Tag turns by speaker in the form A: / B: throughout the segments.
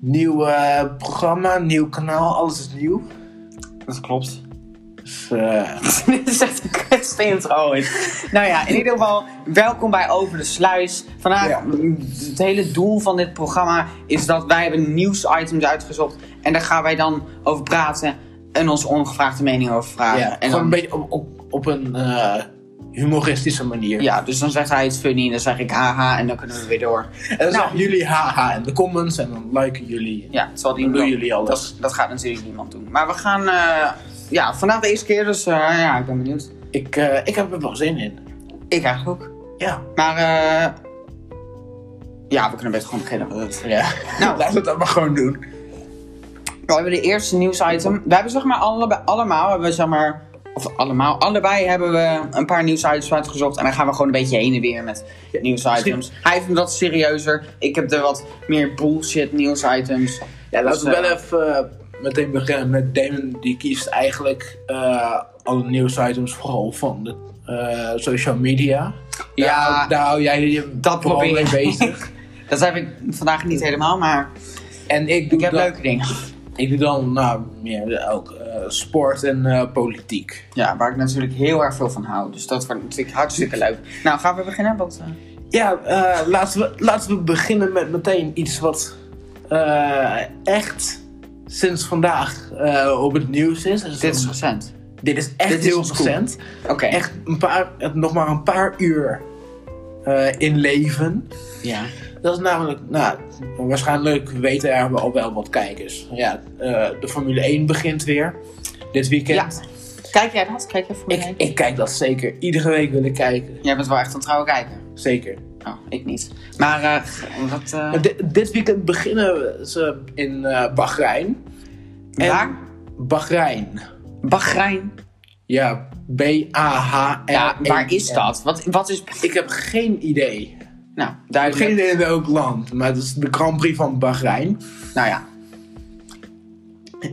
A: Nieuw eh, programma, nieuw kanaal, alles is nieuw.
B: Dat klopt.
A: Dus, eh,
B: Dit is echt een kutste intro. ooit. Nou ja, in ieder geval, welkom bij Over de Sluis. Vandaag,
A: Ja.
B: m, het hele doel van dit programma is dat wij hebben nieuwsitems uitgezocht. En daar gaan wij dan over praten en onze ongevraagde mening over vragen.
A: ja,
B: en
A: gewoon een
B: dan,
A: beetje op, op, op een eh, humoristische manier.
B: ja, dus dan zegt hij iets funny en dan zeg ik haha en dan kunnen we weer door.
A: En dan
B: Nou.
A: zeggen jullie haha in de comments en dan liken jullie.
B: Ja, terwijl die
A: Dan doen
B: dan-
A: jullie alles.
B: Dat, dat gaat natuurlijk niemand doen. Maar we gaan, eh, ja, vandaag de eerste keer, dus eh, ja, ik ben benieuwd.
A: Ik, eh, ik heb er wel zin in.
B: Ik eigenlijk ook.
A: Ja.
B: Maar, eh ja, we kunnen best gewoon beginnen.
A: Eh, ja.
B: Nou.
A: Laten we dat maar gewoon doen.
B: Oh, We hebben de eerste nieuwsitem. We hebben zeg maar allebei, allemaal, hebben we zeg maar, of allemaal, allebei hebben we een paar nieuwsitems uitgezocht. En dan gaan we gewoon een beetje heen en weer met nieuwsitems. Hij heeft hem wat serieuzer. Ik heb er wat meer bullshit nieuwsitems.
A: Ja, laten we
B: Dus, eh,
A: wel even eh, meteen beginnen met Damon. Die kiest eigenlijk eh, alle nieuwsitems vooral van de eh, social media.
B: Ja.
A: Daar hou- daar hou jij je
B: Dat
A: vooral
B: probeer
A: mee
B: ik.
A: bezig.
B: Dat heb ik vandaag niet helemaal, maar
A: En ik doe,
B: ik heb
A: dan,
B: leuke dingen.
A: Ik doe dan nou, meer ook eh, sport en eh, politiek.
B: Ja, waar ik natuurlijk heel erg veel van hou. Dus dat wordt natuurlijk hartstikke leuk. Nou, gaan we beginnen? Want, eh,
A: Ja, eh, laten, we, laten we beginnen met meteen iets wat eh, echt sinds vandaag eh, op het nieuws is. Dus
B: dit is
A: dan-
B: recent.
A: dit is echt
B: dit is
A: heel
B: ons cool.
A: recent.
B: Oké.
A: echt een paar, eh, nog maar een paar uur eh, in leven.
B: Ja.
A: Dat is namelijk, nou, waarschijnlijk weten er al wel wat kijkers. Ja, eh, de Formule 1 begint weer dit weekend.
B: Kijk jij dat? Kijk jij voor
A: Ik, ik kijk dat zeker. Iedere week wil ik kijken.
B: Jij bent wel echt een trouwe kijker.
A: Zeker.
B: Oh, ik niet. Maar eh wat... eh,
A: Maar di- dit weekend beginnen ze in eh Bahrein. En-
B: waar?
A: Bahrein.
B: Bahrein.
A: Ja, B-A-H-R.
B: Ja, waar is dat? Wat, wat is...
A: E Ik heb geen idee.
B: Nou,
A: Ik heb geen
B: duidelijk.
A: idee in welk land, maar het is de Grand Prix van Bahrein.
B: Nou ja.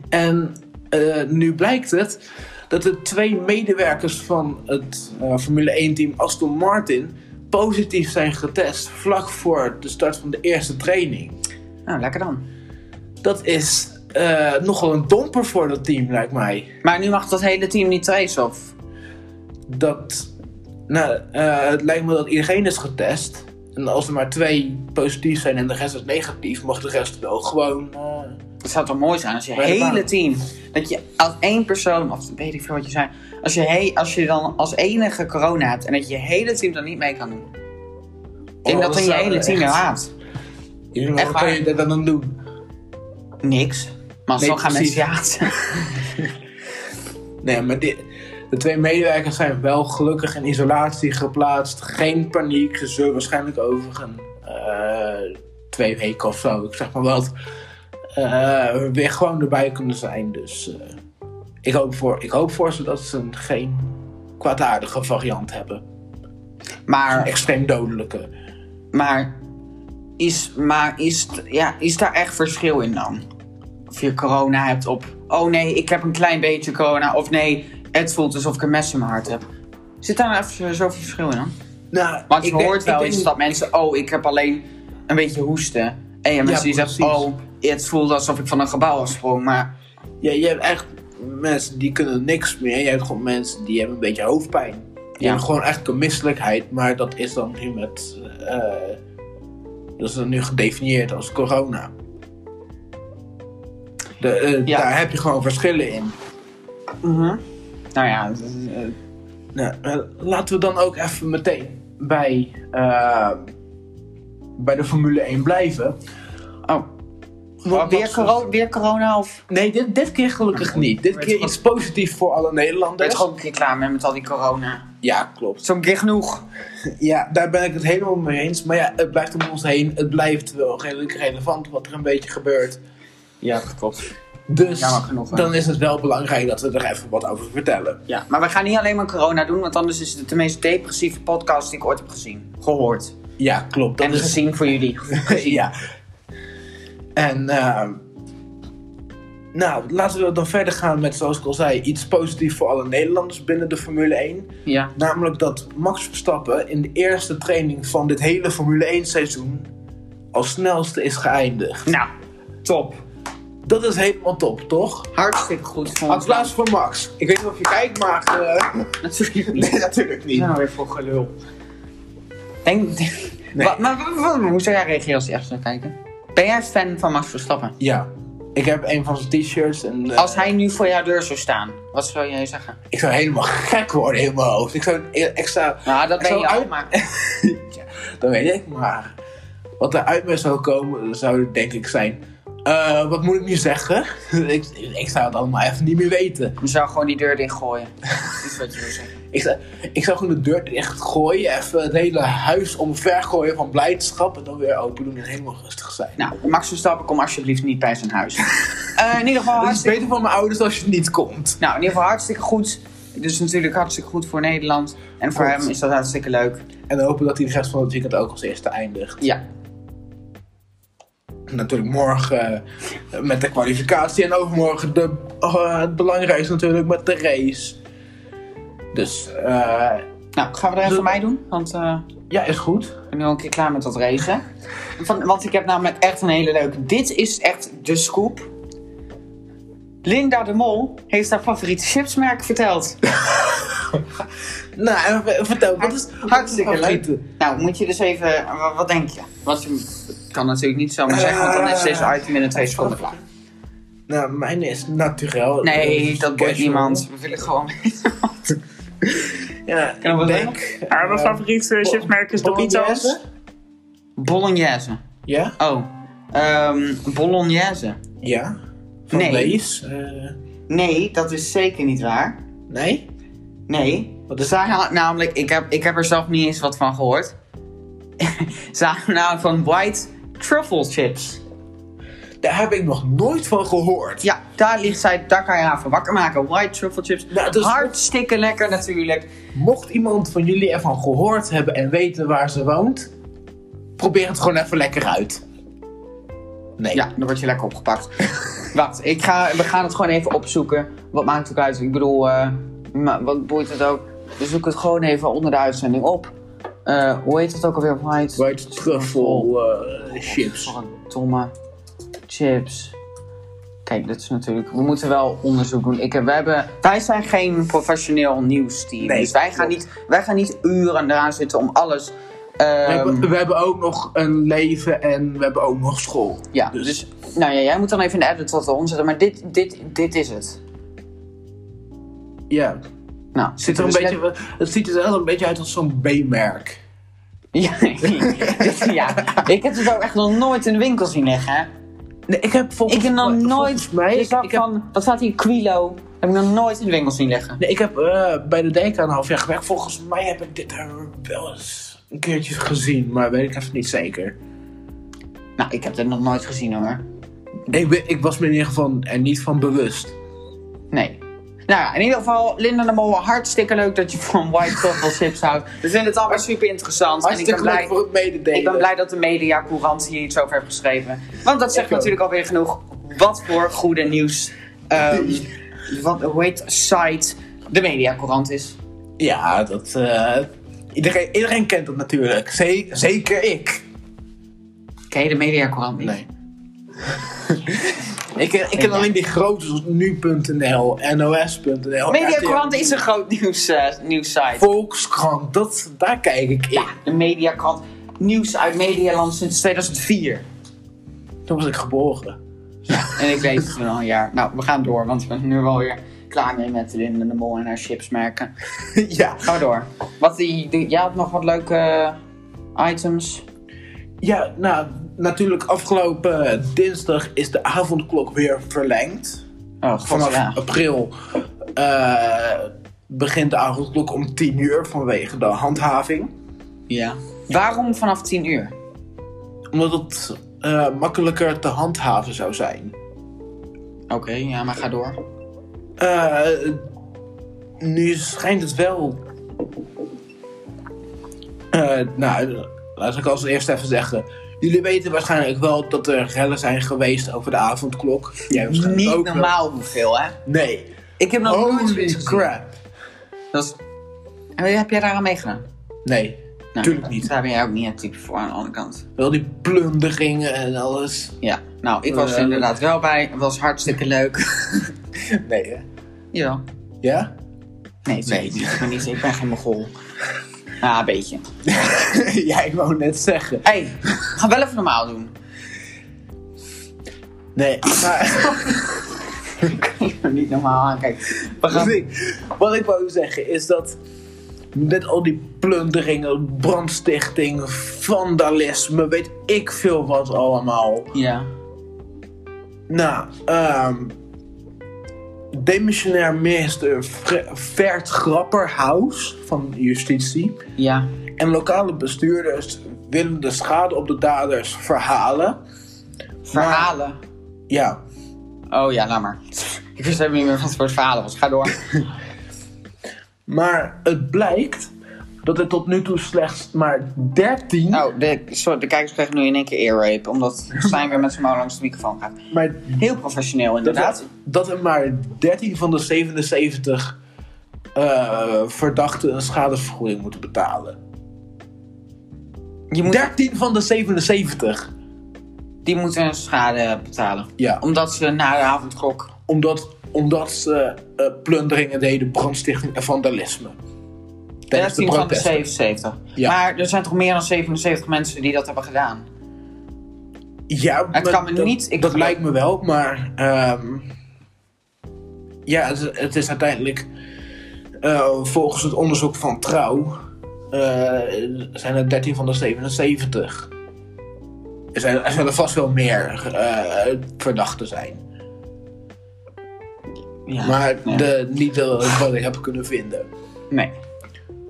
A: En eh, nu blijkt het dat de twee medewerkers van het eh, Formule 1-team Aston Martin positief zijn getest vlak voor de start van de eerste training.
B: Nou, lekker dan.
A: Dat is eh, nogal een domper voor dat team, lijkt mij.
B: Maar nu mag dat hele team niet tracen, of...
A: Dat, nou, eh, het lijkt me dat iedereen is getest. En als er maar twee positief zijn en de rest is negatief, mag de rest wel gewoon. eh,
B: Het zou toch mooi zijn als je
A: Bij de
B: hele
A: baan.
B: team... Dat je als één persoon, of weet ik veel wat je zei... Als je, he, als je dan als enige corona hebt en dat je hele team dan niet mee kan doen. Ik denk
A: Oh, dat
B: dat dan je
A: zou
B: hele team
A: echt-
B: je haat.
A: ja, maar
B: Echt
A: wat kan
B: waar.
A: je dat dan doen?
B: Niks. Maar
A: Nee,
B: zo gaan
A: precies.
B: mensen je haten.
A: Nee, maar dit, de twee medewerkers zijn wel gelukkig in isolatie geplaatst. Geen paniek. Ze zullen waarschijnlijk over een eh, twee weken of zo, ik zeg maar wat, eh, weer gewoon erbij kunnen zijn. Dus eh, ik, hoop voor, ik hoop voor ze dat ze een geen kwaadaardige variant hebben.
B: Maar...
A: Extreem dodelijke.
B: Maar is, maar is, t- ja, is daar echt verschil in dan? Of je corona hebt op... Oh nee, ik heb een klein beetje corona. Of nee, het voelt alsof ik een mes in mijn hart heb. Zit daar nou even zoveel verschil in dan?
A: Nou,
B: Want je
A: ik denk-
B: hoort
A: ik
B: wel
A: denk-
B: eens dat mensen... Oh, ik heb alleen een beetje hoesten. En je hebt mensen die zeggen...
A: precies.
B: Oh, het voelt alsof ik van een gebouw afsprong. Maar
A: Ja, je hebt echt mensen die kunnen niks meer. Je hebt gewoon mensen die hebben een beetje hoofdpijn. Die
B: Ja.
A: hebben gewoon echt een misselijkheid. Maar dat is dan nu met... eh, dat is dan nu gedefinieerd als corona. De, eh,
B: Ja.
A: Daar heb je gewoon verschillen in.
B: nou ja... d- eh,
A: Nou, eh, laten we dan ook even meteen bij, eh, bij de Formule 1 blijven.
B: Oh,
A: Want
B: weer,
A: wat-
B: coro- weer corona of...
A: Nee, dit, dit keer gelukkig niet. Dit
B: Weet
A: keer
B: je wat-
A: iets positiefs voor alle
B: Ben je
A: Nederlanders.
B: toch ook een keer klaar met, met al die corona?
A: Ja, klopt.
B: Zo'n keer genoeg.
A: Ja, daar ben ik het helemaal mee eens. Maar ja, het blijft om ons heen. Het blijft wel redelijk relevant wat er een beetje gebeurt.
B: Ja, klopt.
A: Dus
B: Ja, maar genoeg, hè.
A: dan is het wel belangrijk dat we er even wat over vertellen.
B: Ja, maar we gaan niet alleen maar corona doen, want anders is het de meest depressieve podcast die ik ooit heb gezien. Gehoord.
A: Ja, klopt. Dat
B: en
A: is...
B: gezien voor jullie. Gezien.
A: ja. En, ehm, nou, laten we dan verder gaan met, zoals ik al zei, iets positiefs voor alle Nederlanders binnen de Formule 1.
B: ja.
A: Namelijk dat Max Verstappen in de eerste training van dit hele Formule 1 seizoen als snelste is geëindigd.
B: Nou, Top.
A: Dat is helemaal top, toch?
B: Hartstikke goed. Vond.
A: Applaus voor Max. Ik weet niet of je kijkt, maar... eh,
B: Natuurlijk niet.
A: nee, natuurlijk
B: Wat is
A: niet.
B: dat nou weer voor gelul? Denk, Wa- maar wa- wa- hoe zou jij reageren als hij echt zou kijken? Ben jij fan van Max Verstappen?
A: Ja. Ik heb een van zijn t-shirts en... eh,
B: Als hij nu voor jouw deur zou staan, wat zou jij zeggen?
A: Ik zou helemaal gek worden in mijn hoofd. Ik zou extra...
B: Nou, dat
A: Ik
B: ben
A: zou
B: je al,
A: uit-
B: maar...
A: Dat weet ik, maar... Wat er uit me zou komen, zou denk ik zijn... eh, wat moet ik nu zeggen? ik, ik zou het allemaal even niet meer weten.
B: Je zou gewoon die deur dichtgooien. Dat is wat je wil zeggen.
A: Ik zou, ik zou gewoon de deur dicht gooien, even het hele huis omver gooien van blijdschap en dan weer open doen en helemaal rustig zijn.
B: Nou, Max Verstappen, kom alsjeblieft niet bij zijn huis. Eh, in ieder geval
A: Het is
B: hartstikke...
A: beter voor mijn ouders als je niet komt.
B: Nou, in ieder geval hartstikke goed. Dus natuurlijk hartstikke goed voor Nederland. En voor
A: Klopt.
B: hem is dat hartstikke leuk.
A: En dan hopen dat hij de rest van het weekend ook als eerste eindigt.
B: Ja.
A: Natuurlijk morgen eh, met de kwalificatie en overmorgen de, eh, het belangrijkste natuurlijk met de race. Dus eh,
B: Nou, gaan we er even
A: Doe-
B: mij doen? Want eh,
A: ja, is goed.
B: Ik ben nu al een keer klaar met dat regen. Van, want ik heb namelijk echt een hele leuke. Dit is echt de scoop. Linda de Mol heeft haar favoriete chipsmerk verteld.
A: Nou, en v- vertel, wat is
B: Hartstikke leuk.
A: leuk.
B: Nou, moet je dus even. wa- Wat, denk je? Eh. Wat je kan natuurlijk niet zomaar zeggen, want dan is deze item binnen twee seconden klaar.
A: Nou, mijn is naturel.
B: Nee,
A: Dus
B: dat wordt
A: casual.
B: niemand. We willen gewoon.
A: Ja,
B: Kunnen we
A: ik
B: dat
A: denk...
C: Ah, mijn
A: eh,
C: favoriete chipsmerk is Doritos.
A: Bolognese?
B: Bolognese.
A: Ja?
B: Oh, ehm, Bolognese.
A: Ja. Van
B: Nee.
A: Lees? Eh,
B: Nee, dat is zeker niet waar.
A: nee?
B: Nee.
A: Wat is
B: Zij haalt namelijk, ik heb, ik heb er zelf niet eens wat van gehoord. Zij haalt namelijk van white truffle chips.
A: Daar heb ik nog nooit van gehoord.
B: Ja, daar ligt zij, daar kan je haar van wakker maken. White truffle chips.
A: Nou, dus-
B: Hartstikke lekker natuurlijk.
A: Mocht iemand van jullie ervan gehoord hebben en weten waar ze woont, probeer het gewoon even lekker uit. Nee.
B: Ja, dan word je lekker opgepakt. Wacht, ik ga, we gaan het gewoon even opzoeken. Wat maakt het ook uit? Ik bedoel, eh, ma- wat boeit het ook? We zoeken het gewoon even onder de uitzending op. Eh, hoe heet het ook alweer? White...
A: White truffle eh,
B: Ehm.
A: chips.
B: Domme chips. Kijk, dit is natuurlijk. We moeten wel onderzoek doen. Ik, heb- we hebben, wij zijn geen professioneel nieuwsteam.
A: Nee,
B: dus wij gaan,
A: klopt.
B: niet, wij gaan niet uren eraan zitten om alles.
A: We,
B: ehm,
A: hebben, we hebben ook nog een leven en we hebben ook nog school.
B: ja,
A: dus-
B: dus. nou ja, jij moet dan even in de edit wat eronder zetten. Maar dit, dit, dit is het.
A: Ja.
B: Nou,
A: Zit er een
B: dus
A: beetje, het ziet er zelfs een beetje uit als zo'n B-merk.
B: Ja, ja, ik heb het ook echt nog nooit in de winkel zien liggen. Hè?
A: Nee, ik heb volgens
B: Ik heb nog
A: mij-
B: nooit.
A: volgens mij,
B: ik
A: ik, ik heb
B: van, Wat staat hier? Quilo. Heb ik nog nooit in de winkel zien liggen.
A: Nee, ik heb eh, bij de deken een half jaar gewerkt. Volgens mij heb ik dit er wel eens een keertje gezien, maar weet ik even niet zeker.
B: Nou, ik heb dit nog nooit gezien hoor.
A: Ik, we- ik was me in ieder geval er niet van bewust.
B: Nee. Nou ja, in ieder geval, Linda de Mol, hartstikke leuk dat je van White Truffle Chips houdt. We vinden het allemaal super interessant.
A: Hartstikke
B: en ik ben
A: leuk
B: blij,
A: voor het mededelen.
B: ik ben blij dat de media Courant hier iets over heeft geschreven. Want dat zegt
A: Ik ook.
B: natuurlijk alweer genoeg. Wat voor goede nieuws. ehm, wat, hoe heet site de media Courant is.
A: Ja, dat... eh, iedereen, iedereen kent dat natuurlijk. Ze- zeker ik.
B: Ken je de media Courant niet?
A: Nee. ik, ken- ik ken alleen die grote zoals nu.nl, nos.nl,
B: Media
A: RTL,
B: Courant is een groot nieuws, eh, nieuwssite.
A: Volkskrant. Dat, daar kijk ik in.
B: Ja, de media Courant. Nieuws uit Medialand sinds 2004.
A: Toen was ik geboren.
B: En ik weet het toen al een jaar. Nou, we gaan door, want we zijn nu wel weer klaar mee met Linda de Mol en haar chipsmerken.
A: ja.
B: Ga door. Wat die, die- jij had nog wat leuke eh, items.
A: Ja, nou, natuurlijk afgelopen eh, dinsdag is de avondklok weer verlengd.
B: Oh, god,
A: Vanaf
B: ja.
A: april eh, begint de avondklok om 10 uur vanwege de handhaving.
B: ja. Waarom vanaf 10 uur?
A: Omdat het eh, makkelijker te handhaven zou zijn.
B: Oké, ja, maar ga door.
A: Eh, nu schijnt het wel. Eh, nou, laat ik als eerst even zeggen. Jullie weten waarschijnlijk wel dat er rellen zijn geweest over de avondklok. Jij waarschijnlijk
B: Niet
A: ook wel.
B: normaal hoeveel, hè?
A: Nee.
B: Ik heb nog nooit
A: Holy
B: zoiets gezien.
A: crap.
B: Dat is... En heb jij daaraan meegedaan?
A: Nee. Tuurlijk niet.
B: Nou, Daar ben jij ook niet het type voor aan de andere kant.
A: Wel die plunderingen en alles.
B: Ja, nou, ik was er
A: Eh.
B: inderdaad wel bij. Het was hartstikke leuk.
A: Nee, hè?
B: ja.
A: Ja?
B: Nee, het
A: Nee.
B: weet niet. Ik ben, niet, ik ben geen mogol. Ah, een beetje.
A: ja, ik wou net zeggen.
B: Hé, hey, ga wel even normaal doen.
A: Nee, maar...
B: niet normaal aan, kijk. We gaan...
A: Nee, Wat ik wou zeggen is dat met al die plunderingen, brandstichting, vandalisme, weet ik veel wat allemaal.
B: Ja.
A: Nou, ehm demissionair minister Fre- Vert Grapperhaus van Justitie
B: Ja.
A: en lokale bestuurders willen de schade op de daders verhalen.
B: Verhalen.
A: Ja,
B: Oh ja, laat maar. Ik wist helemaal niet meer wat voor verhalen was. Ga door.
A: maar het blijkt dat er tot nu toe slechts maar 13
B: Oh, de, sorry, de kijkers krijgen nu in één keer earrape. Omdat Stijn weer met zijn mouw langs de microfoon gaat.
A: maar
B: Heel professioneel, inderdaad.
A: Dat, dat er maar 13 van de 77 eh, verdachten een schadevergoeding moeten betalen.
B: Je moet,
A: 13 van de 77.
B: die moeten hun schade betalen.
A: Ja,
B: Omdat ze na de avondklok...
A: omdat, omdat ze eh, plunderingen deden, brandstichting en vandalisme. Tijdens
B: 13 van de
A: protesten.
B: 77.
A: Ja.
B: Maar er zijn toch meer dan 77 mensen die dat hebben gedaan?
A: Ja,
B: Het
A: maar
B: kan me
A: dat,
B: niet- ik
A: dat
B: geloof-
A: lijkt me wel, maar ehm, ja, het, het is uiteindelijk eh, volgens het onderzoek van Trouw eh, zijn er 13 van de 77. Er, zijn, er zullen vast wel meer eh, verdachten zijn,
B: Ja.
A: maar
B: ja.
A: de, niet de, wat ik heb kunnen vinden.
B: Nee.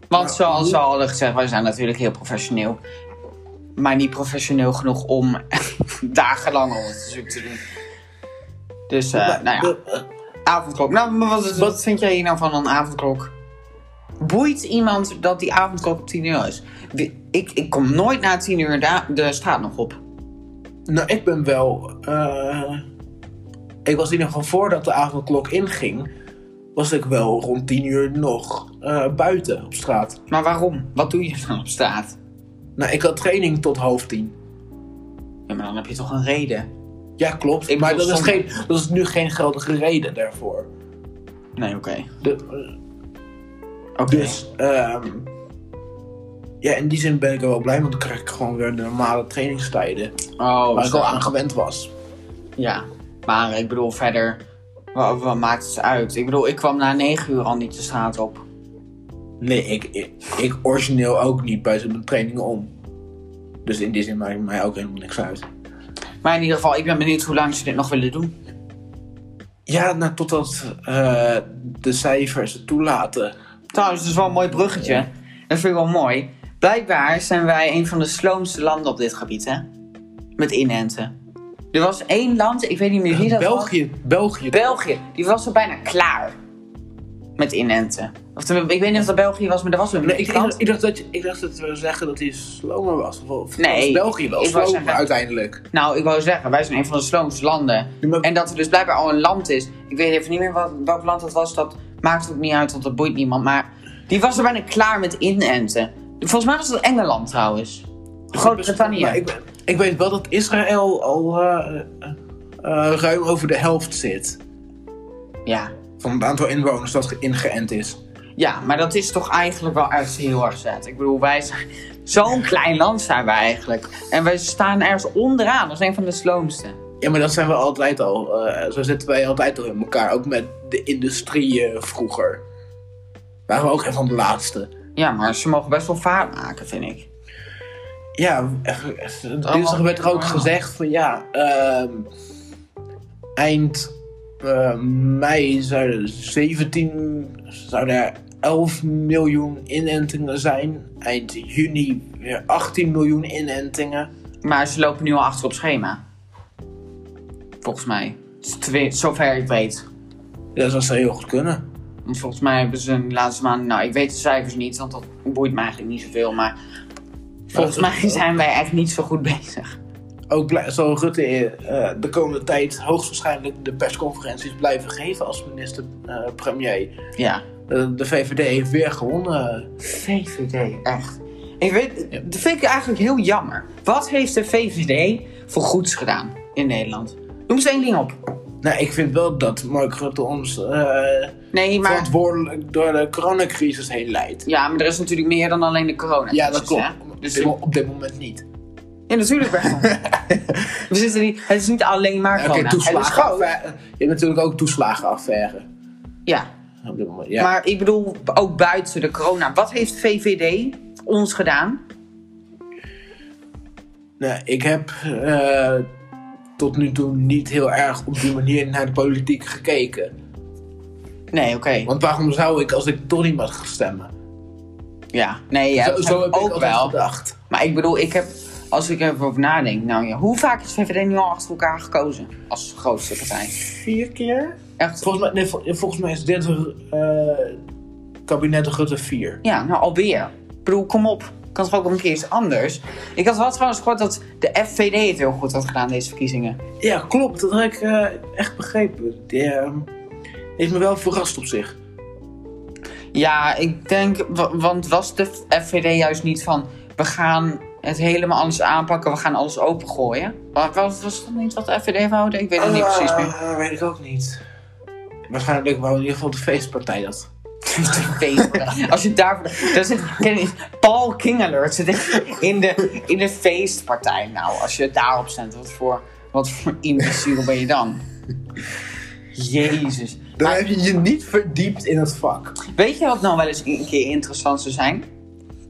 B: Want zoals we al hadden gezegd, wij zijn natuurlijk heel professioneel. Maar niet professioneel genoeg om dagenlang onderzoek te doen. Dus, eh, nou ja,
A: De-
B: avondklok. Nou, maar wat, wat, vind jij hier nou van een avondklok? Boeit iemand dat die avondklok op 10 uur is? Wie- Ik, ik kom nooit na 10 uur da- de straat nog op.
A: nou, ik ben wel. eh, ik was in ieder geval voordat de avondklok inging, was ik wel rond 10 uur nog eh, buiten op straat.
B: Maar waarom? Wat doe je dan op straat?
A: Nou, ik had training tot half tien.
B: Ja, maar dan heb je toch een reden?
A: Ja, klopt.
B: Ik
A: maar dat
B: bedoel,
A: is, geen,
B: soms-
A: dat is nu geen geldige reden daarvoor.
B: Nee, oké.
A: De-
B: Oké.
A: dus, ehm, ja, in die zin ben ik er wel blij, want dan krijg ik gewoon weer de normale trainingstijden.
B: oh,
A: waar ik
B: zo.
A: al aan gewend was.
B: Ja, maar ik bedoel verder, wat, wat maakt het uit? Ik bedoel, ik kwam na negen uur al niet de straat op.
A: Nee, ik, ik, ik origineel ook niet buiten mijn trainingen om. Dus in die zin maakt het mij ook helemaal niks uit.
B: Maar in ieder geval, ik ben benieuwd hoe lang ze dit nog willen doen.
A: Ja, nou, totdat eh, de cijfers het toelaten.
B: Trouwens, dat is wel een mooi bruggetje. Dat vind ik wel mooi. Blijkbaar zijn wij een van de sloomste landen op dit gebied, hè? Met inenten. Er was één land, ik weet niet meer wie dat was.
A: België, België.
B: België, die was al bijna klaar met inenten. Of tenminste, ik weet niet of dat België was, maar dat was een
A: Nee, ik, ik,
B: land.
A: ik dacht dat je- ik dacht dat we zeggen dat hij slomer was. Of, of
B: Nee,
A: was België wel
B: ik wou
A: slomer
B: zeggen-
A: uiteindelijk.
B: Nou, ik wou zeggen, wij zijn een van de sloomste landen.
A: Ja, maar-
B: En dat er dus blijkbaar al een land is. Ik weet even niet meer wat, welk land dat was. Dat maakt ook niet uit, want dat boeit niemand. Maar die was er bijna klaar met inenten. Volgens mij was dat Engeland trouwens.
A: Maar
B: Groot-Brittannië.
A: ik, ik weet wel dat Israël al eh, eh, eh, ruim over de helft zit.
B: Ja.
A: Van het aantal inwoners dat ge- ingeënt is.
B: ja, maar dat is toch eigenlijk wel echt heel erg zet. Ik bedoel, wij zijn zo'n klein land zijn wij eigenlijk. En wij staan ergens onderaan als een van de sloomste.
A: Ja, maar dat zijn we altijd al. eh, zo zitten wij altijd al in elkaar. Ook met de industrie eh, vroeger. Waren we ook een van de laatste.
B: Ja, maar ze mogen best wel vaart maken, vind ik.
A: Ja, dinsdag werd er ook
B: wow.
A: gezegd van ja, ehm, eind eh, mei zouden 17, zouden er 11 miljoen inentingen zijn. Eind juni weer 18 miljoen inentingen.
B: Maar ze lopen nu al achter op schema. Volgens mij. Twe- Zover ik weet.
A: Ja, dat zou heel goed kunnen.
B: Want volgens mij hebben ze in de laatste maanden... Nou, ik weet de cijfers niet, want dat boeit me eigenlijk niet zoveel. Maar volgens
A: dat-
B: mij zijn wij echt niet zo goed bezig.
A: Ook blij- zal Rutte eh, de komende tijd hoogstwaarschijnlijk de persconferenties blijven geven als eh, minister-premier.
B: Ja.
A: de VVD heeft weer gewonnen.
B: VVD, echt. Ik Ik weet,
A: Ja.
B: dat vind ik eigenlijk heel jammer. Wat heeft de VVD voor goeds gedaan in Nederland? Noem ze één ding op.
A: Nou, ik vind wel dat Mark Rutte ons eh,
B: Nee, maar,
A: verantwoordelijk door de coronacrisis heen leidt.
B: ja, maar er is natuurlijk meer dan alleen de corona.
A: Ja, dat klopt.
B: Hè? Dus,
A: Dus op dit moment niet.
B: ja, natuurlijk wel. We zitten niet, het is niet alleen maar
A: Oké,
B: corona. het is gewoon-
A: toeslagenaffaire. Je hebt natuurlijk ook toeslagenaffaire.
B: ja.
A: Op dit moment, ja.
B: maar ik bedoel ook buiten de corona. Wat heeft VVD ons gedaan?
A: Nou, ik heb eh, tot nu toe niet heel erg op die manier naar de politiek gekeken.
B: Nee, oké.
A: Want waarom zou ik als ik toch niet mag gaan stemmen?
B: Ja, nee, ja,
A: zo,
B: dat
A: zo
B: heb ik ook
A: altijd
B: wel.
A: gedacht.
B: Maar ik bedoel, ik heb, als ik erover nadenk, nou ja, hoe vaak is VVD nu al achter elkaar gekozen als grootste partij?
A: Vier keer?
B: Echt?
A: Volgens mij, nee, vol- volgens mij is dit eh kabinet Rutte 4.
B: Ja, nou alweer. Ik bedoel, kom op. Kan toch ook een keer iets anders? Ik had wel trouwens gehoord dat de FVD het heel goed had gedaan deze verkiezingen.
A: Ja, klopt. Dat had ik eh, echt begrepen. Die, eh, heeft me wel verrast op zich.
B: Ja, ik denk, wa- want was de FVD juist niet van, we gaan het helemaal anders aanpakken, we gaan alles opengooien? Wa- Was, was dat niet wat de FVD wou? Ik weet het niet precies meer.
A: Eh, weet ik ook niet. Waarschijnlijk wou in ieder geval de feestpartij dat.
B: feestpartij. Als je daarvoor. Daar zit, ken je- Paul King Alert zit in de, in de feestpartij. Nou, als je daarop stemt, wat voor, wat voor imbeciel ben je dan? Jezus.
A: Dan heb je je niet verdiept in het vak.
B: Weet je wat nou wel eens een keer interessant zou zijn?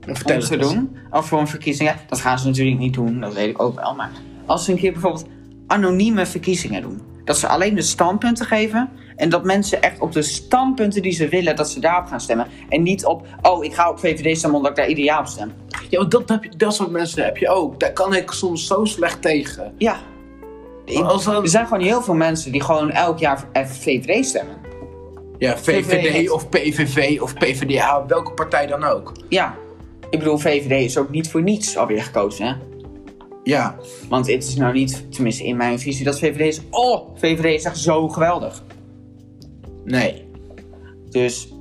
A: Nou, Vertel
B: om
A: het
B: te
A: eens.
B: doen. Of voor een verkiezing. Ja, dat gaan ze natuurlijk niet doen, dat weet ik ook wel. Maar als ze een keer bijvoorbeeld anonieme verkiezingen doen. Dat ze alleen de standpunten geven. En dat mensen echt op de standpunten die ze willen, dat ze daarop gaan stemmen. En niet op, oh, ik ga op VVD stemmen omdat ik daar ideaal op stem.
A: Ja, want dat, heb je, dat soort mensen heb je ook. Daar kan ik soms zo slecht tegen.
B: Ja.
A: Maar als dan-
B: Er zijn gewoon heel veel mensen die gewoon elk jaar voor F- VVD stemmen.
A: Ja, VVD of PVV of PVDA, welke partij dan ook.
B: Ja. Ik bedoel, VVD is ook niet voor niets alweer gekozen, hè?
A: Ja,
B: Want het is nou niet, tenminste in mijn visie, dat VVD is... Oh, VVD is echt zo geweldig.
A: nee.
B: Dus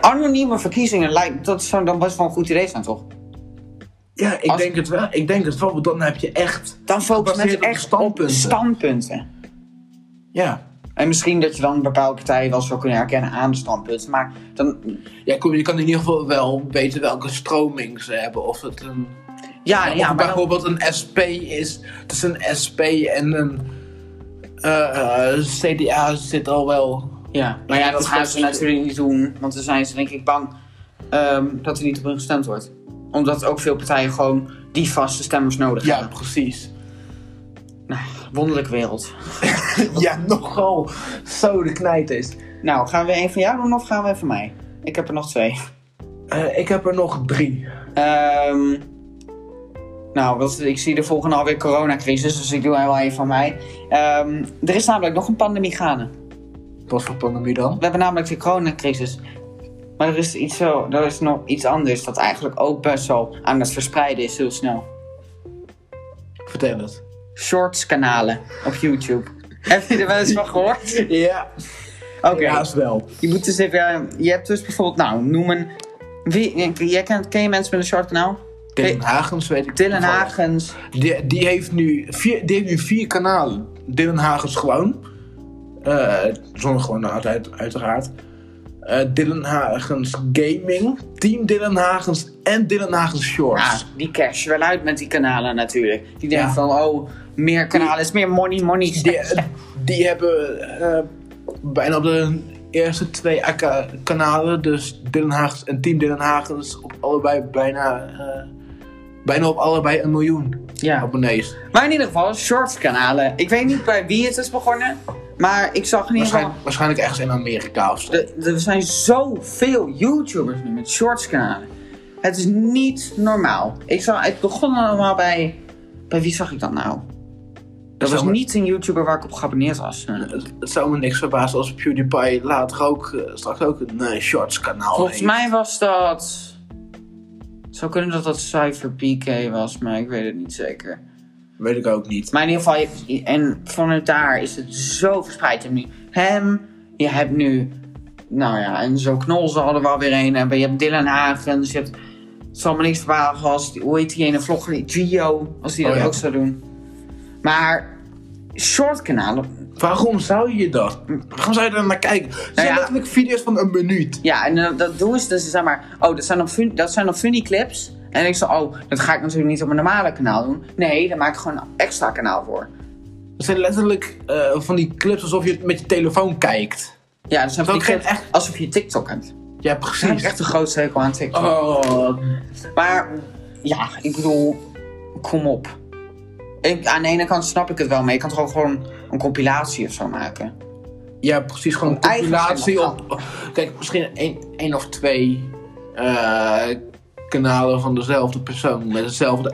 B: anonieme verkiezingen lijkt dat zou dan best wel een goed idee zijn, toch?
A: Ja, ik
B: Als-
A: denk het wel. Ik denk het wel, want dan heb je echt...
B: Dan focussen
A: Gebaseerd op
B: mensen
A: de
B: echt
A: standpunten.
B: op standpunten.
A: Ja,
B: En misschien dat je dan bepaalde partijen wel zou kunnen herkennen aan de standpunten. Maar dan.
A: ja kom, je kan in ieder geval wel weten welke stroming ze hebben. Of het een,
B: Ja,
A: of
B: ja,
A: het
B: maar dan,
A: bijvoorbeeld een SP is. Dus een SP en een eh, eh, CDA zit al wel...
B: ja. Maar ja, dat
A: Het
B: gaan
A: is-
B: ze natuurlijk niet doen. Want dan zijn ze denk ik bang ehm, dat er niet op hun gestemd wordt. Omdat ook veel partijen gewoon die vaste stemmers nodig
A: Ja,
B: hebben.
A: precies.
B: Wonderlijke wereld.
A: Ja, nogal. Zo de knijt is.
B: Nou, gaan we één van jou doen of gaan we één van mij? Ik heb er nog twee.
A: Eh, ik heb er nog drie.
B: Ehm nou, wat, ik zie de volgende alweer coronacrisis, dus ik doe er wel een van mij. Ehm, er is namelijk nog een pandemie gaande.
A: Wat voor pandemie dan?
B: We hebben namelijk de coronacrisis. Maar er is, iets zo, er is nog iets anders dat eigenlijk ook best wel aan het verspreiden is heel snel.
A: Vertel het.
B: Shorts kanalen op YouTube. Heb je er wel eens van gehoord?
A: Ja,
B: Oké.
A: helaas wel.
B: Je moet dus even... eh, je hebt dus bijvoorbeeld, nou, noem een... Wie, jij kent, ken je mensen met een short kanaal?
A: Dylan Hagens weet ik
B: Dylan
A: toevallig.
B: Hagens.
A: Die, die, heeft nu vier, die heeft nu vier kanalen. Dylan Hagens gewoon. Eh, zonder gewoon uit, uiteraard. Eh, Dylan Hagens Gaming. Team Dylan Hagens en Dylan Hagens
B: Ja,
A: Shorts.
B: die cashen wel uit met die kanalen natuurlijk. Die denken
A: Ja.
B: van, oh, meer kanalen is meer money, money.
A: Die, die hebben eh, bijna op de eerste twee AK kanalen, dus Dylan Hagens en Team Dylan Hagens, op allebei bijna, eh, bijna op allebei een miljoen
B: Ja.
A: abonnees.
B: Maar in ieder geval, shorts kanalen. Ik weet niet bij wie het is begonnen, maar ik zag in ieder geval...
A: Waarschijn- waarschijnlijk ergens in Amerika of zo.
B: Er- Er zijn zoveel YouTubers nu met shorts kanalen. Het is niet normaal. Ik zag, het begon allemaal bij... Bij wie zag ik dat nou? Dat was
A: Zomaar.
B: niet een YouTuber waar ik op geabonneerd was.
A: Het, het zou me niks verbazen als PewDiePie later ook, eh, straks ook een eh, shorts kanaal
B: Volgens
A: heeft.
B: mij was dat. Het zou kunnen dat dat Cypher PK was, maar ik weet het niet zeker.
A: Weet ik ook niet.
B: Maar in ieder geval, je hebt- en vanuit daar is het zo verspreid. Je hebt nu hem, je hebt nu, nou ja, en zo knol ze hadden wel weer een. hebben. Je hebt Dylan Hagens, je hebt Het zal me niks verbazen als die, hoe heet die ene vlogger, die Gio, als die
A: Oh,
B: dat
A: ja.
B: ook zou doen. Maar shortkanalen,
A: Waarom zou je dat? Waarom zou je daar naar kijken? Het zijn
B: Nou ja.
A: letterlijk video's van een minuut.
B: ja, en eh, dat doen ze dus, zeg maar, oh, dat zijn dan, fun, dat zijn dan funny clips. En ik zo, oh, dat ga ik natuurlijk niet op mijn normale kanaal doen. Nee, daar maak ik gewoon een extra kanaal voor.
A: Het zijn letterlijk eh, van die clips alsof je het met je telefoon kijkt.
B: Ja, dat zijn van die
A: Dat
B: clips
A: geeft
B: alsof je TikTok hebt.
A: Ja,
B: Daar heb ik
A: precies.
B: echt de grootste hekel aan TikTok.
A: Oh,
B: Maar ja, ik bedoel, kom op. Ik, aan de ene kant snap ik het wel, maar je kan toch ook gewoon een compilatie of zo maken.
A: ja, precies. Gewoon een
B: Eigen
A: compilatie
B: channel.
A: op. Kijk, misschien één, één of twee eh, kanalen van dezelfde persoon met hetzelfde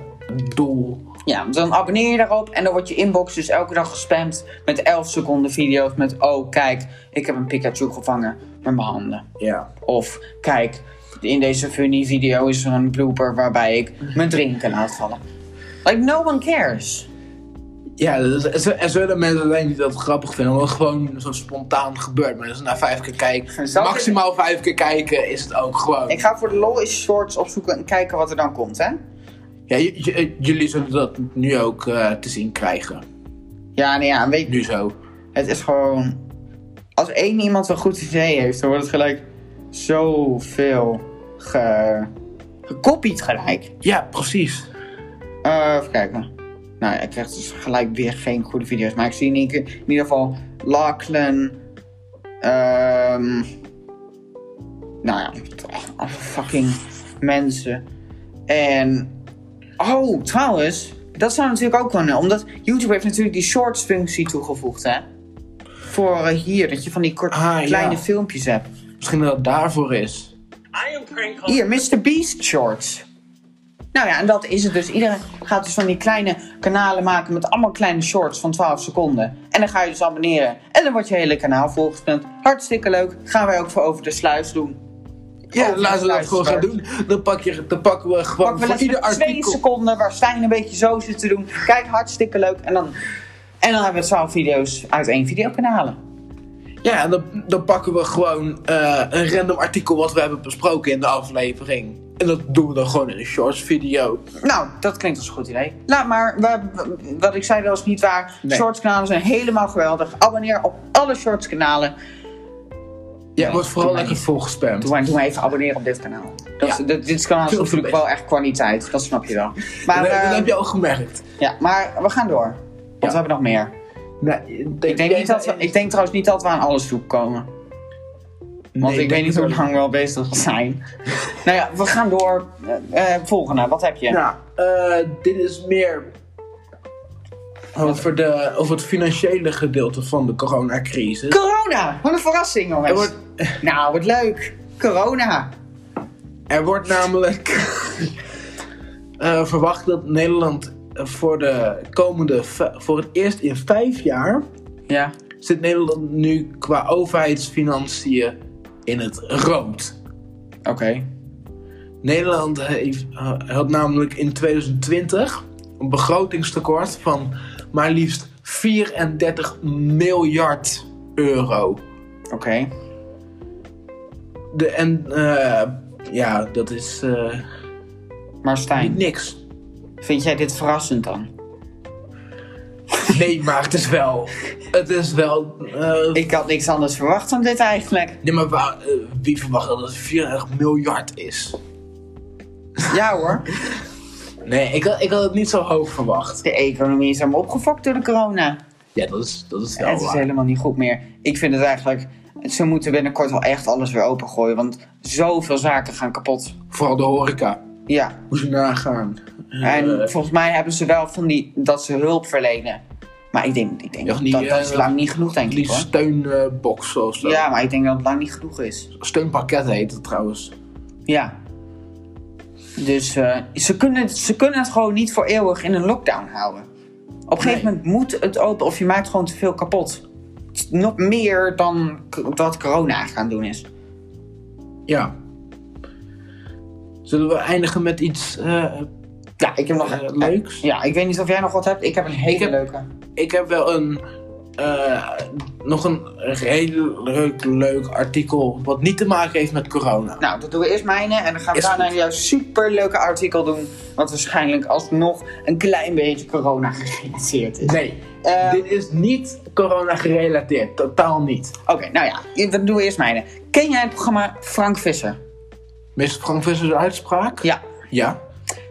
A: doel.
B: Ja, dan abonneer je daarop en dan wordt je inbox dus elke dag gespamd met 11 seconden video's met oh kijk, ik heb een Pikachu gevangen met mijn handen.
A: Ja.
B: Of kijk, in deze funny video is er een blooper waarbij ik mijn drinken laat vallen. Like no one cares.
A: Ja, dus er z- er zullen mensen zijn die dat grappig vinden, omdat het gewoon zo spontaan gebeurt. Maar als je na vijf keer kijken,
B: Zou ik-
A: maximaal vijf keer kijken, is het ook gewoon.
B: Ik ga voor de lol eens shorts opzoeken en kijken wat er dan komt, hè?
A: Ja, j- j- jullie zullen dat nu ook eh, te zien krijgen.
B: Ja, nee, ja, weet je,
A: Nu zo.
B: Het is gewoon. Als één iemand een goed idee heeft, dan wordt het gelijk zoveel ge... gekopied gelijk.
A: Ja, precies.
B: Eh, even kijken. Nou ja, ik krijg dus gelijk weer geen goede video's. Maar ik zie in, ieder keer- in ieder geval Lachlan. ehm, nou ja, allemaal fucking mensen. En. Oh, trouwens. Dat zou natuurlijk ook kunnen. Omdat YouTube heeft natuurlijk die shorts functie toegevoegd, hè? Voor eh, hier, dat je van die korte,
A: Ah, ja.
B: kleine filmpjes hebt.
A: Misschien dat het daarvoor is.
B: Hier, Mr. Beast shorts. Nou ja, en dat is het dus. Iedereen gaat dus van die kleine kanalen maken met allemaal kleine shorts van 12 seconden. En dan ga je dus abonneren. En dan wordt je hele kanaal volgespend. Hartstikke leuk. Gaan wij ook voor Over de Sluis doen.
A: Ja,
B: Oh,
A: laten we dat
B: luister.
A: gewoon gaan doen. Dan, pak je, dan pakken we gewoon
B: Pak wel
A: voor
B: eens
A: ieder
B: met twee
A: artikel.
B: seconden waar Stijn een beetje zo zit te doen. Kijk, hartstikke leuk. En dan, en dan hebben we 12 video's uit één videokanalen.
A: Ja, en dan, dan pakken we gewoon eh, een random artikel wat we hebben besproken in de aflevering. En dat doen we dan gewoon in een shorts video.
B: Nou, dat klinkt als een goed idee. Laat maar, wa- wa- wat ik zei, dat was niet waar.
A: Nee.
B: Shortskanalen zijn helemaal geweldig. Abonneer op alle shortskanalen.
A: Ja, wordt vooral
B: doe maar
A: lekker
B: niet.
A: volgespamd.
B: Doe maar, doe maar even abonneren op dit kanaal. Dat,
A: Ja.
B: dit, dit kanaal is
A: Veel
B: natuurlijk
A: beter.
B: wel echt kwaliteit, dat snap je wel. Maar,
A: Dat, dat
B: eh,
A: heb je al gemerkt.
B: ja, maar we gaan door. Want
A: Ja.
B: we hebben nog meer.
A: Nou,
B: Ik denk, niet dat we- ik denk trouwens niet dat we aan alles toe komen. Want ik weet niet hoe lang we al bezig zijn. nou ja, we gaan door. Eh, eh, volgende, wat heb je?
A: Nou, eh, dit is meer over, de, over het financiële gedeelte van de coronacrisis.
B: Corona! Wat een verrassing, jongens.
A: Er wordt,
B: Nou, wat leuk. Corona.
A: er wordt namelijk eh, verwacht dat Nederland voor, de komende, v- voor het eerst in vijf jaar
B: Ja.
A: zit Nederland nu qua overheidsfinanciën in het rood.
B: Oké.
A: Nederland eh, heeft, had namelijk in 2020 een begrotingstekort van maar liefst 34 miljard euro.
B: Oké.
A: De, en eh, ja, dat is eh,
B: Maar
A: niet
B: Stijn,
A: niks.
B: vind jij dit verrassend dan?
A: Nee, maar het is wel. Het is wel. eh,
B: Ik had niks anders verwacht dan dit eigenlijk.
A: nee, maar wa- eh, wie verwacht dat het 34 miljard is?
B: Ja hoor.
A: Nee, ik had, ik had het niet zo hoog verwacht.
B: De economie is helemaal opgefokt door de corona.
A: Ja, dat is, dat is wel
B: het is
A: waar.
B: helemaal niet goed meer. Ik vind het eigenlijk... Ze moeten binnenkort wel echt alles weer opengooien. Want zoveel zaken gaan kapot.
A: Vooral de horeca.
B: Ja.
A: Hoe ze nagaan.
B: En
A: Eh,
B: volgens mij hebben ze wel van die... Dat ze hulp verlenen. Maar ik denk, ik denk
A: Ja,
B: dat,
A: die,
B: dat, dat is
A: eh,
B: lang niet genoeg, denk ik
A: Die
B: hoor.
A: steunbox of zo.
B: Ja, maar ik denk dat het lang niet genoeg is.
A: Steunpakket heet het trouwens.
B: Ja. Dus eh, ze, kunnen, ze kunnen het gewoon niet voor eeuwig in een lockdown houden. Op een gegeven
A: Nee.
B: moment moet het open of je maakt gewoon te veel kapot. Het is Nog meer dan k- dat corona gaan doen is.
A: Ja. Zullen we eindigen met iets eh,
B: Ja, ik heb nog
A: eh, leuks?
B: Ja, ik weet niet of jij nog wat hebt. Ik heb een hele
A: Ik heb-
B: leuke.
A: Ik heb wel een eh, nog een redelijk leuk artikel wat niet te maken heeft met corona.
B: Nou, dat doen we eerst mijne en dan gaan we
A: Is
B: daarna
A: goed.
B: jouw superleuke artikel doen. Wat waarschijnlijk alsnog een klein beetje corona gerelateerd is.
A: Nee,
B: Eh,
A: dit is niet corona gerelateerd, totaal niet.
B: Oké, nou ja, dan doen we eerst mijne. Ken jij het programma Frank Visser?
A: Meester Frank Visser's uitspraak?
B: Ja.
A: Ja.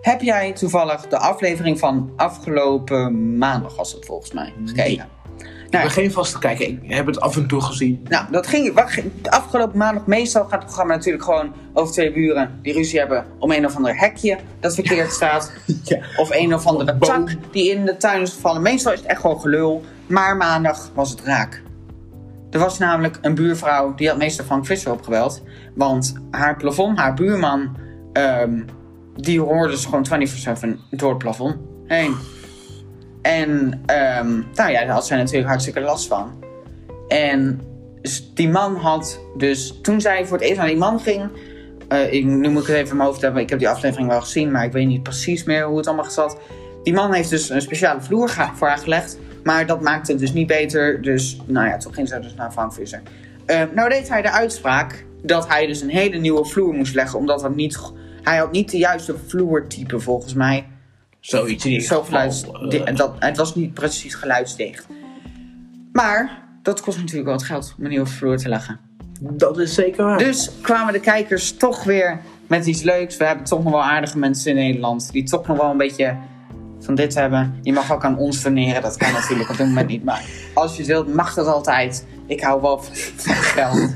B: Heb jij toevallig de aflevering van afgelopen maandag, was het volgens mij, gekeken?
A: Ik
B: Nou,
A: ben geen vaste kijker, ik heb het af en toe gezien.
B: nou, dat ging. wat ging- de afgelopen maandag, meestal gaat het programma natuurlijk gewoon over twee buren die ruzie hebben om een of ander hekje dat verkeerd staat.
A: Ja.
B: Of een of andere
A: Boom.
B: tak die in de tuin is gevallen. Meestal is het echt gewoon gelul. Maar maandag was het raak. Er was namelijk een buurvrouw die had meester Frank Visser opgebeld. Want haar plafond, haar buurman, ehm, die hoorde ze gewoon 24-7 door het plafond heen. En ehm, nou ja, daar had zij natuurlijk hartstikke last van. En s- die man had dus, toen zij voor het eerst naar die man ging, eh, ik, nu moet ik het even in mijn hoofd hebben. Ik heb die aflevering wel gezien, maar ik weet niet precies meer hoe het allemaal zat. Die man heeft dus een speciale vloer ge- voor haar gelegd. Maar dat maakte het dus niet beter. Dus nou ja, toen ging ze dus naar Frank Visser. Eh, nou deed hij de uitspraak dat hij dus een hele nieuwe vloer moest leggen. Omdat dat niet, go- hij had niet de juiste vloertype volgens mij.
A: Zoiets in ieder
B: Zo
A: geval,
B: geluids,
A: eh,
B: di- en dat, het was niet precies geluidsdicht. Maar dat kost natuurlijk wel wat geld om een nieuwe vloer te leggen.
A: dat is zeker waar.
B: Dus kwamen de kijkers toch weer met iets leuks. We hebben toch nog wel aardige mensen in Nederland die toch nog wel een beetje van dit hebben. Je mag ook aan ons doneren, dat kan natuurlijk op dit moment niet. Maar als je het wilt, mag dat altijd. Ik hou wel van van geld.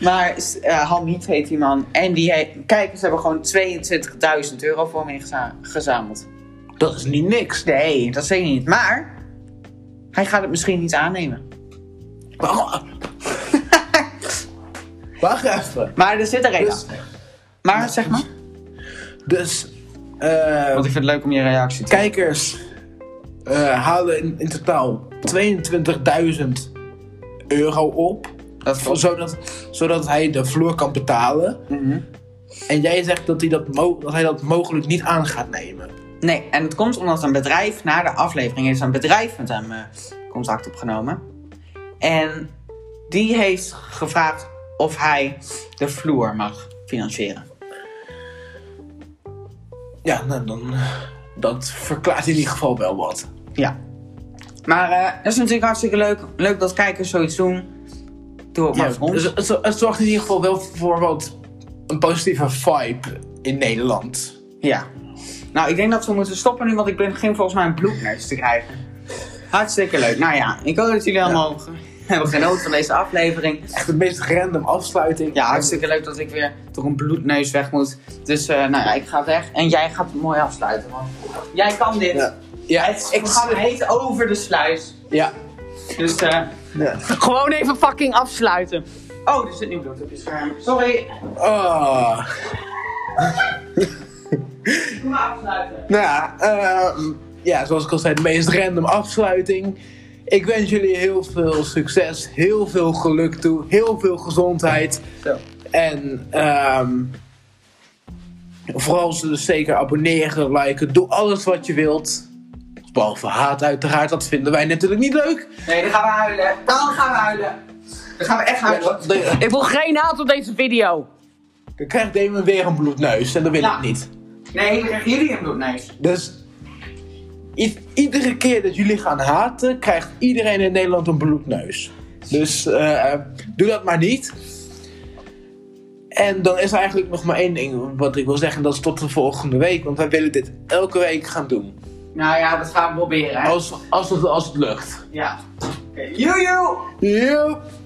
B: Maar eh Hamid heet die man. En die he- kijkers hebben gewoon 22.000 euro voor me ingeza- gezameld.
A: dat is niet niks.
B: Nee, dat zeker niet. Maar hij gaat het misschien niet aannemen.
A: Wacht- Wacht even.
B: Maar er zit er een
A: Dus-
B: achter. Maar zeg maar.
A: Dus, eh,
B: Want ik vind het leuk om je reactie te
A: kijkers eh, halen in, in totaal 22.000 euro op.
B: Dat
A: Voor- Zodat, zodat hij de vloer kan betalen.
B: Mhm.
A: En jij zegt dat hij dat, mo- dat, hij dat mogelijk niet aan gaat nemen.
B: Nee, en het komt omdat een bedrijf, na de aflevering heeft een bedrijf met hem eh, contact opgenomen. En die heeft gevraagd of hij de vloer mag financieren.
A: Ja, nou, dan, eh, dat verklaart in ieder geval wel wat.
B: Ja. Maar eh dat is natuurlijk hartstikke leuk. Leuk dat kijkers zoiets doen. Doe het maar voor ons.
A: dus het, het, het zorgt in ieder geval wel voor wat een positieve vibe in Nederland.
B: Ja. Nou, ik denk dat we moeten stoppen nu, want ik begin volgens mij een bloedneus te krijgen. Hartstikke leuk. Nou ja, ik hoop dat jullie allemaal hebben genoten van deze aflevering.
A: Echt de meest random afsluiting.
B: Ja, hartstikke leuk dat ik weer door een bloedneus weg moet. Dus eh, nou ja, ik ga weg en jij gaat het mooi afsluiten. Want jij kan dit.
A: Ja. Ja,
B: Het, ik ga het heet over de sluis.
A: ja.
B: Dus, eh,
A: ja.
C: Gewoon even fucking afsluiten.
B: oh, er zit nu bloed op je scherm. Sorry,
A: Ah.
B: ik moet afsluiten.
A: Nou ja, ehm, ja, zoals ik al zei, de meest random afsluiting. Ik wens jullie heel veel succes, heel veel geluk toe, heel veel gezondheid.
B: Zo.
A: En ehm, vooral ze dus zeker abonneren, liken, doe alles wat je wilt. Behalve haat uiteraard, dat vinden wij natuurlijk niet leuk.
B: Nee, dan gaan we huilen. Dan gaan we huilen. Dan gaan we echt huilen. hoor.
A: Dan-
C: Ik wil geen haat op deze video.
A: Dan krijgt Damon weer een bloedneus en dat wil
B: Ja.
A: ik niet.
B: Nee, dan krijgen jullie een bloedneus.
A: Dus i- iedere keer dat jullie gaan haten, krijgt iedereen in Nederland een bloedneus. Dus eh, doe dat maar niet. En dan is er eigenlijk nog maar één ding wat ik wil zeggen. Dat is tot de volgende week. Want wij willen dit elke week gaan doen.
B: Nou ja, dat gaan we proberen. Hè?
A: Als, als, het, als het lukt.
B: Ja. Oké, joejoe!
A: Joep.